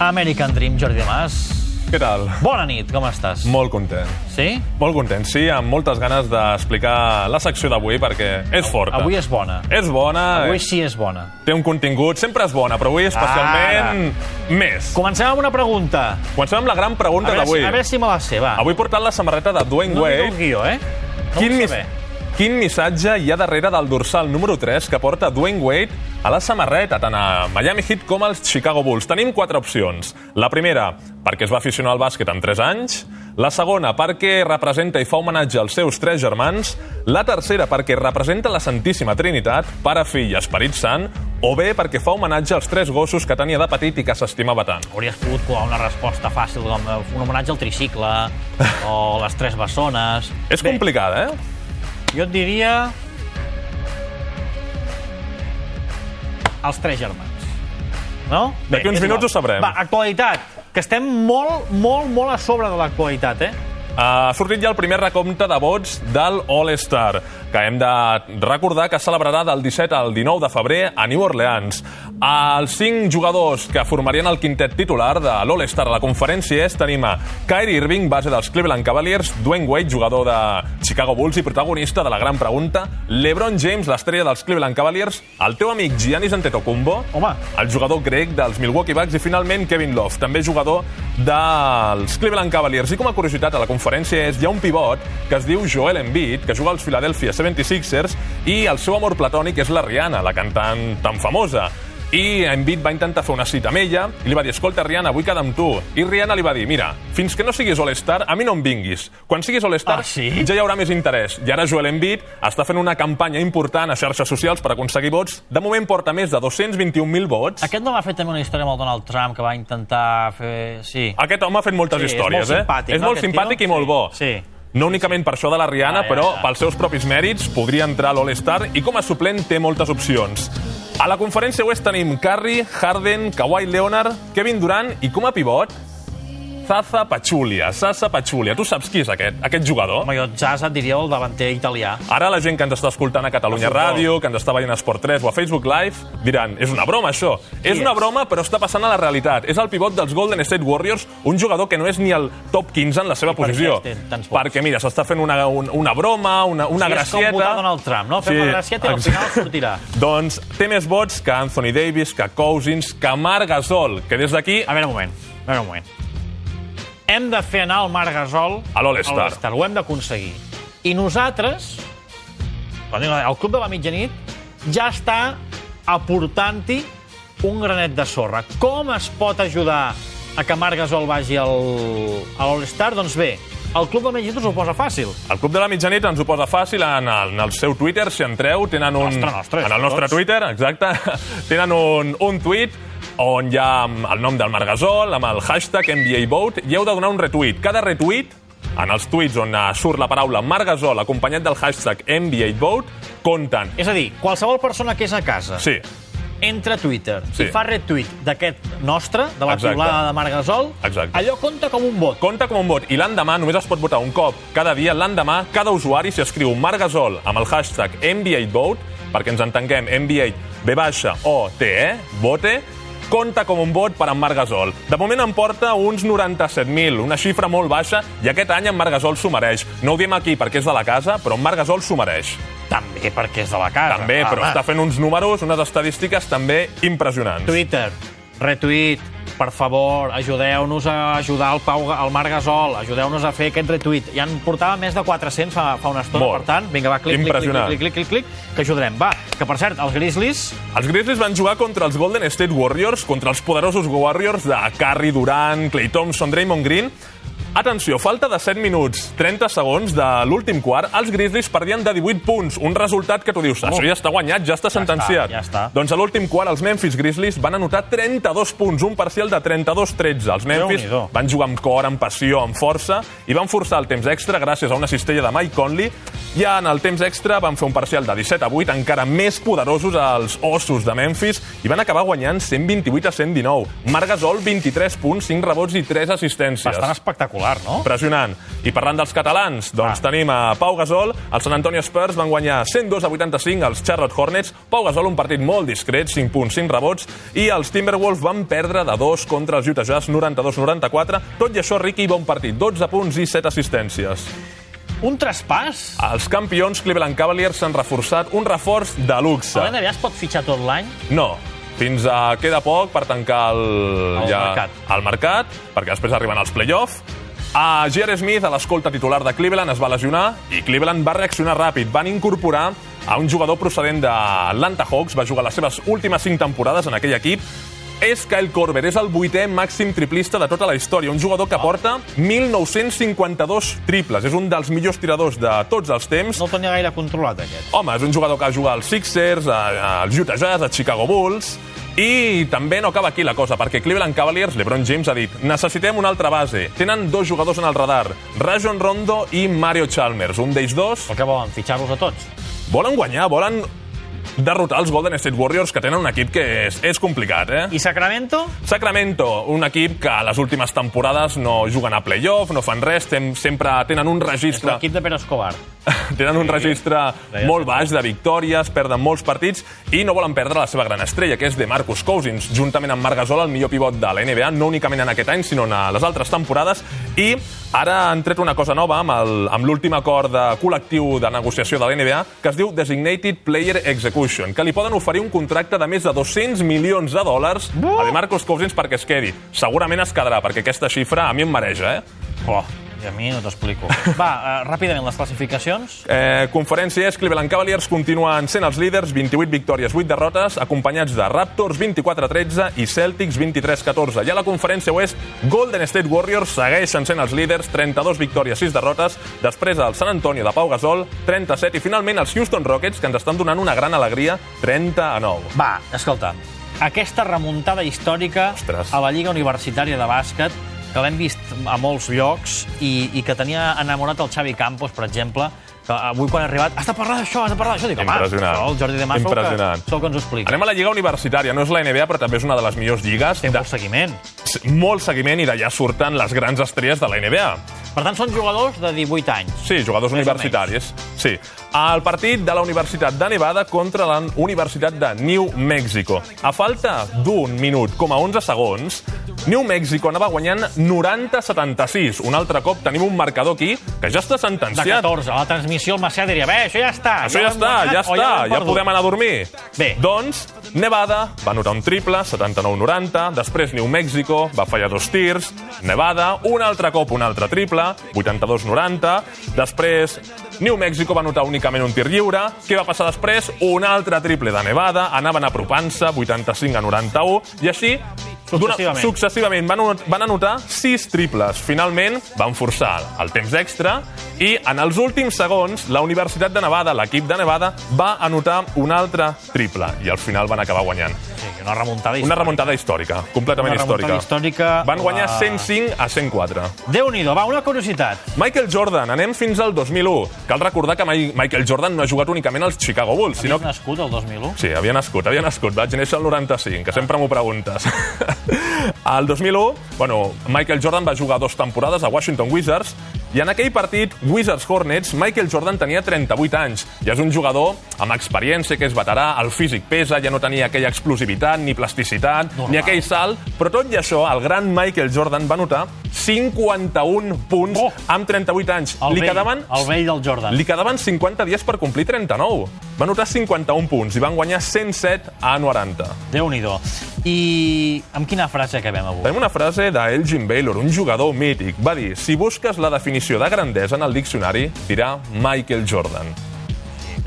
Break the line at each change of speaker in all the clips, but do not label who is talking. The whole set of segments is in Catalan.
American Dream, Jordi Mas.
Què tal?
Bona nit, com estàs?
Molt content.
Sí?
Molt content, sí, amb moltes ganes d'explicar la secció d'avui perquè és forta.
Avui és bona.
És bona,
Avui
és...
sí és bona.
té un contingut, sempre és bona, però avui especialment més.
Comencem amb una pregunta.
Comencem amb la gran
A
pregunta
veure, si,
d'avui.
a veure si me la sé, va.
Avui portant la samarreta de Dwayne
no
Wade.
tinc el guió, eh? No
Quin,
ho
mis
sé bé.
quin missatge hi ha darrere del dorsal número 3 que porta Dwayne Wade a la samarreta, tant a Miami Heat com als Chicago Bulls? Tenim quatre opcions. La primera, perquè es va aficionar al bàsquet amb 3 anys. La segona, perquè representa i fa homenatge als seus tres germans. La tercera, perquè representa la Santíssima Trinitat, pare, fill i esperit sant. O bé, perquè fa homenatge als tres gossos que tenia de petit i que s'estimava tant.
Hauries pogut colar una resposta fàcil, com eh, un homenatge al tricicle, o les tres bessones...
És
Bé,
complicada, eh?
Jo et diria... Els tres germans. No?
D'aquí uns
és
minuts
igual.
ho sabrem.
Va, actualitat. Que estem molt, molt, molt a sobre de l'actualitat, eh?
Ha sortit ja el primer recompte de vots del All-Star, que hem de recordar que es celebrarà del 17 al 19 de febrer a New Orleans. Els cinc jugadors que formarien el quintet titular de l'All-Star a la conferència és tenim a Kyrie Irving, base dels Cleveland Cavaliers, Dwayne Wade, jugador de Chicago Bulls i protagonista de la gran pregunta, LeBron James, l'estrella dels Cleveland Cavaliers, el teu amic Giannis Antetokounmpo,
Home.
el jugador grec dels Milwaukee Bucks i, finalment, Kevin Love, també jugador dels Cleveland Cavaliers. I com a curiositat, a la conferència és hi ha un pivot que es diu Joel Embiid, que juga als Philadelphia 76ers, i el seu amor platònic és la Rihanna, la cantant tan famosa. I Embiid va intentar fer una cita amb ella i li va dir, escolta, Rihanna, vull quedar amb tu. I Rihanna li va dir, mira, fins que no siguis All-Star, a mi no em vinguis. Quan siguis All-Star,
Ah, sí?
ja hi haurà més interès. I ara Joel Embiid està fent una campanya important a xarxes socials per aconseguir vots. De moment porta més de 221.000 vots.
Aquest no va fer també una història amb el Donald Trump, que va intentar fer... Sí.
Aquest home ha fet moltes
Sí, és
Ah, històries,
molt simpàtic,
eh? És
no,
molt
aquest
simpàtic
tio?
i molt bo.
Sí, sí.
No únicament per això de la Rihanna,
Ah, ja
però
està.
pels seus propis mèrits podria entrar a l'All-Star i com a suplent té moltes opcions. A la conferència oest tenim Curry, Harden, Kawhi Leonard, Kevin Durant i com a pivot, Zaza Pachulia. Zaza Pachulia. Tu saps qui és aquest, aquest jugador?
Home, jo Zaza et diria el davanter italià.
Ara la gent que ens està escoltant a Catalunya
A futbol.
Ràdio, que ens està veient a Esport 3 o a Facebook Live, diran, és una broma això. és una
és?
broma, però està passant a la realitat. És el pivot dels Golden State Warriors, un jugador que no és ni el top 15 en la seva
per què
posició.
té tants vots?
Perquè, mira, s'està fent una, un, una broma, una, una
Sí,
gracieta...
És com votar Donald Trump, no? Fem
Sí,
sí. la gracieta i al
exacte.
final sortirà.
Doncs té més vots que Anthony Davis, que Cousins, que Marc Gasol, que des d'aquí
A veure un moment, a veure un moment. Hem de fer anar el Marc Gasol
A l'All-Star.
a l'All-Star, Ho hem d'aconseguir. I nosaltres, quan dic el Club de la Mitjanit, ja està aportant-hi un granet de sorra. Com es pot ajudar a que Marc Gasol vagi al, a l'All-Star? Doncs bé, el Club de la Mitjanit us ho posa fàcil.
El Club de la Mitjanit ens ho posa fàcil en el, en el seu Twitter, si entreu, tenen un...
Nostre, nostre,
en el nostre
tots.
Twitter, exacte, tenen un, un tuit on hi ha el nom del Margasol, amb el hashtag NBAVote, i heu de donar un retuit. Cada retuit, en els tuits on eh, surt la paraula Margasol acompanyat del hashtag NBAVote, compten.
És a dir, qualsevol persona que és a casa,
Sí,
entra a Twitter
Sí.
sí. i fa retweet d'aquest nostre, de la
Exacte.
piulada de Marc Gasol,
Exacte.
allò compta com un vot.
compta com un vot. I l'endemà només es pot votar un cop. Cada dia, l'endemà, cada usuari s'hi escriu Margasol amb el hashtag NBAVote, perquè ens entenguem, NBA B baixa O T E, vote, compta com un vot per en Marc Gasol. De moment en porta uns 97.000, una xifra molt baixa, i aquest any en Marc Gasol s'ho mereix. No ho diem aquí perquè és de la casa, però en Marc Gasol s'ho mereix.
També perquè és de la casa.
També,
clar,
però
home.
està fent uns números, unes estadístiques també impressionants.
Twitter, retuit, per favor, ajudeu-nos a ajudar el Pau, el Marc Gasol, ajudeu-nos a fer aquest retuit. Ja en portava més de 400 fa, fa una estona,
Molt.
per tant, vinga, va, clic, clic, clic,
Impressionant.
clic, clic, clic, clic, que ajudarem. Va, que per cert, els Grizzlies
Els Grizzlies van jugar contra els Golden State Warriors, contra els poderosos Warriors de Curry, Durant, Clay Thompson, Draymond Green. Atenció, falta de 7 minuts, 30 segons de l'últim quart, els Grizzlies perdien de 18 punts, un resultat que tu dius, això ja està guanyat, ja està sentenciat.
Oh. ja està.
Doncs a l'últim quart els Memphis Grizzlies van anotar 32 punts, un parcial de 32-13. Els Memphis
Déu-n'hi-do.
van jugar amb cor, amb passió, amb força i van forçar el temps extra gràcies a una cistella de Mike Conley. I en el temps extra van fer un parcial de 17 a 8, encara més poderosos els Ossos de Memphis, i van acabar guanyant 128 a 119. Marc Gasol, 23 punts, 5 rebots i 3 assistències.
bastant espectacular. espectacular, no?
Impressionant. I parlant dels catalans, doncs
Ah.
tenim a Pau Gasol. Els San Antonio Spurs van guanyar 102 a 85 als Charlotte Hornets. Pau Gasol un partit molt discret, 5 punts, 5 rebots. I els Timberwolves van perdre de 2 contra els Utah Jazz, 92-94. Tot i això, Ricky, bon partit, 12 punts i 7 assistències.
Un traspàs?
Els campions Cleveland Cavaliers s'han reforçat un reforç de luxe.
A l'NBA es pot fitxar tot l'any?
No, fins a queda poc per tancar el,
El mercat.
el mercat, perquè després arriben els play-off. A J.R. Smith, a l'escolta titular de Cleveland, es va lesionar i Cleveland va reaccionar ràpid. Van incorporar a un jugador procedent d'Atlanta Hawks, va jugar les seves últimes 5 temporades en aquell equip, és Kyle Korver, és el vuitè màxim triplista de tota la història, un jugador que porta 1.952 triples, és un dels millors tiradors de tots els temps,
No el tenia gaire controlat, aquest.
Home, és un jugador que juga als Sixers, a- als Utah Jazz, als Chicago Bulls... I també no acaba aquí la cosa, perquè Cleveland Cavaliers, LeBron James ha dit necessitem una altra base. Tenen dos jugadors en el radar, Rajon Rondo i Mario Chalmers. Un d'ells dos
Però què volen, fitxar-los a tots?
volen guanyar, volen derrotar els Golden State Warriors, que tenen un equip que és, és complicat, eh?
I Sacramento?
Sacramento, un equip que a les últimes temporades no juguen a playoff, no fan res, tem- sempre tenen un registre
L'equip de Pere Escobar.
tenen un registre molt baix de victòries, perden molts partits i no volen perdre la seva gran estrella, que és de Marcus Cousins, juntament amb Marc Gasol, el millor pivot de la NBA, no únicament en aquest any, sinó en les altres temporades. I ara han tret una cosa nova amb el- amb l'últim acord de col·lectiu de negociació de la NBA, que es diu Designated Player Execution, que li poden oferir un contracte de més de 200 milions de dòlars a de Marcus Cousins perquè es quedi. Segurament es quedarà, perquè aquesta xifra a mi em mareja, eh?
Oh, i a mi no t'explico. Va, eh, ràpidament, les classificacions.
Eh, conferència és Cleveland Cavaliers continuen sent els líders, 28 victòries, 8 derrotes, acompanyats de Raptors 24-13 i Celtics 23-14. I a la conferència oest, Golden State Warriors segueixen sent els líders, 32 victòries, 6 derrotes, després el San Antonio de Pau Gasol, 37, i finalment els Houston Rockets, que ens estan donant una gran alegria, 30 a 9.
Va, escolta, aquesta remuntada històrica
Ostres.
a la Lliga Universitària de Bàsquet, que l'hem vist a molts llocs i, i que tenia enamorat el Xavi Campos, per exemple, que avui quan ha arribat, has de parlar d'això, has de parlar d'això. Dic, home,
Impressionant.
això el Jordi de Mas sou que,
Impressionant.
sou que ens ho explica.
Anem a la Lliga Universitària, no és la NBA, però també és una de les millors lligues,
Té
de,
molt seguiment.
molt seguiment i d'allà surten les grans estrelles de la NBA.
Per tant, són jugadors de 18 anys.
Sí, jugadors
Més o
universitaris. Sí. El partit de la Universitat de Nevada contra la Universitat de New Mexico. A falta d'un minut com a 11 segons, New Mexico anava guanyant 90-76. Un altre cop tenim un marcador aquí que ja està
De
sentenciat.
14. A la transmissió el Macià diria, bé, això ja està.
Això ja
ho hem
està,
guanyat
ja
o
està,
ho hem
ja
perdut."
podem anar a dormir.
Bé.
Doncs, Nevada va anotar un triple, 79-90, després New Mexico va fallar dos tirs, Nevada, un altre cop un altre triple, 82-90, després New Mexico va anotar únicament un tir lliure, què va passar després? Un altre triple de Nevada, anaven apropant-se, 85 a 91, i així d'una-
Successivament.
successivament van, anot- van anotar sis triples. Finalment, van forçar el temps extra i en els últims segons la Universitat de Nevada, l'equip de Nevada, va anotar un altre triple i al final van acabar guanyant.
Sí, una remuntada
Una
històrica.
remuntada històrica, completament
Una remuntada històrica.
Van guanyar
La-
105 a 104.
Déu-n'hi-do, va, una curiositat.
Michael Jordan, anem fins al 2001. Cal recordar que mai- Michael Jordan no ha jugat únicament als Chicago Bulls, sinó
És nascut el 2001.
Sí, havia nascut, havia nascut. Vaig néixer el 95, que sempre m'ho preguntes. el 2001, bueno, Michael Jordan va jugar dues temporades a Washington Wizards i en aquell partit, Wizards Hornets, Michael Jordan tenia 38 anys i és un jugador amb experiència, que és veterà, el físic pesa, ja no tenia aquella explosivitat, ni plasticitat, Normal. ni aquell salt, però tot i això, el gran Michael Jordan va notar 51 punts
Oh!
oh. amb 38 anys.
El
Li
vell,
quedaven
el vell del Jordan.
li quedaven 50 dies per complir 39. Van notar 51 punts i van guanyar 107 a 90.
Déu-n'hi-do. I amb quina frase acabem avui?
Tenim una frase d'Elgin Baylor, un jugador mític. Va dir, si busques la definició de grandesa en el diccionari, dirà Michael Jordan.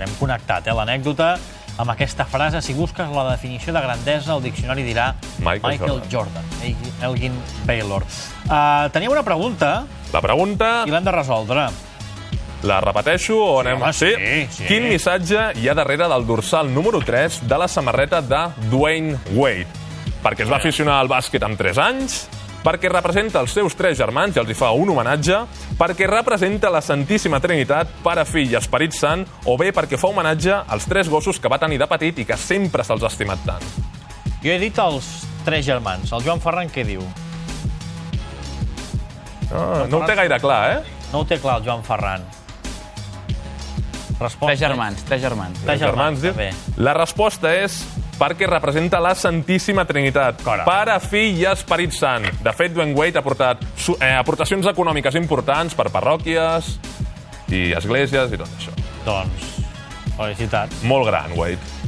Hem connectat, eh, l'anècdota amb aquesta frase. Si busques la definició de grandesa, el diccionari dirà
Michael
Jordan. Jordan Elgin Baylor. Uh, teniu una pregunta
La pregunta
i l'hem de resoldre.
la repeteixo o anem...
home, sí, sí.
Quin missatge hi ha darrere del dorsal número 3 de la samarreta de Dwayne Wade? Perquè es
Eh.
va aficionar al bàsquet amb 3 anys, perquè representa els seus tres germans i els hi fa un homenatge, perquè representa la Santíssima Trinitat, Pare, Fill i Esperit Sant, o bé perquè fa homenatge als tres gossos que va tenir de petit i que sempre se'ls ha estimat tant.
Jo he dit els tres germans. El Joan Ferran què diu?
Ah, no ho té gaire clar, eh?
No ho té clar el Joan Ferran. Resposta.
Tres germans, tres germans.
Tres germans,
diu.
també.
La resposta és perquè representa la Santíssima Trinitat.
Correcte.
Pare, fill i Esperit Sant. De fet, Dwayne Wade ha portat su- eh, aportacions econòmiques importants per parròquies i esglésies i tot això.
Doncs, felicitats.
Molt gran, Wade.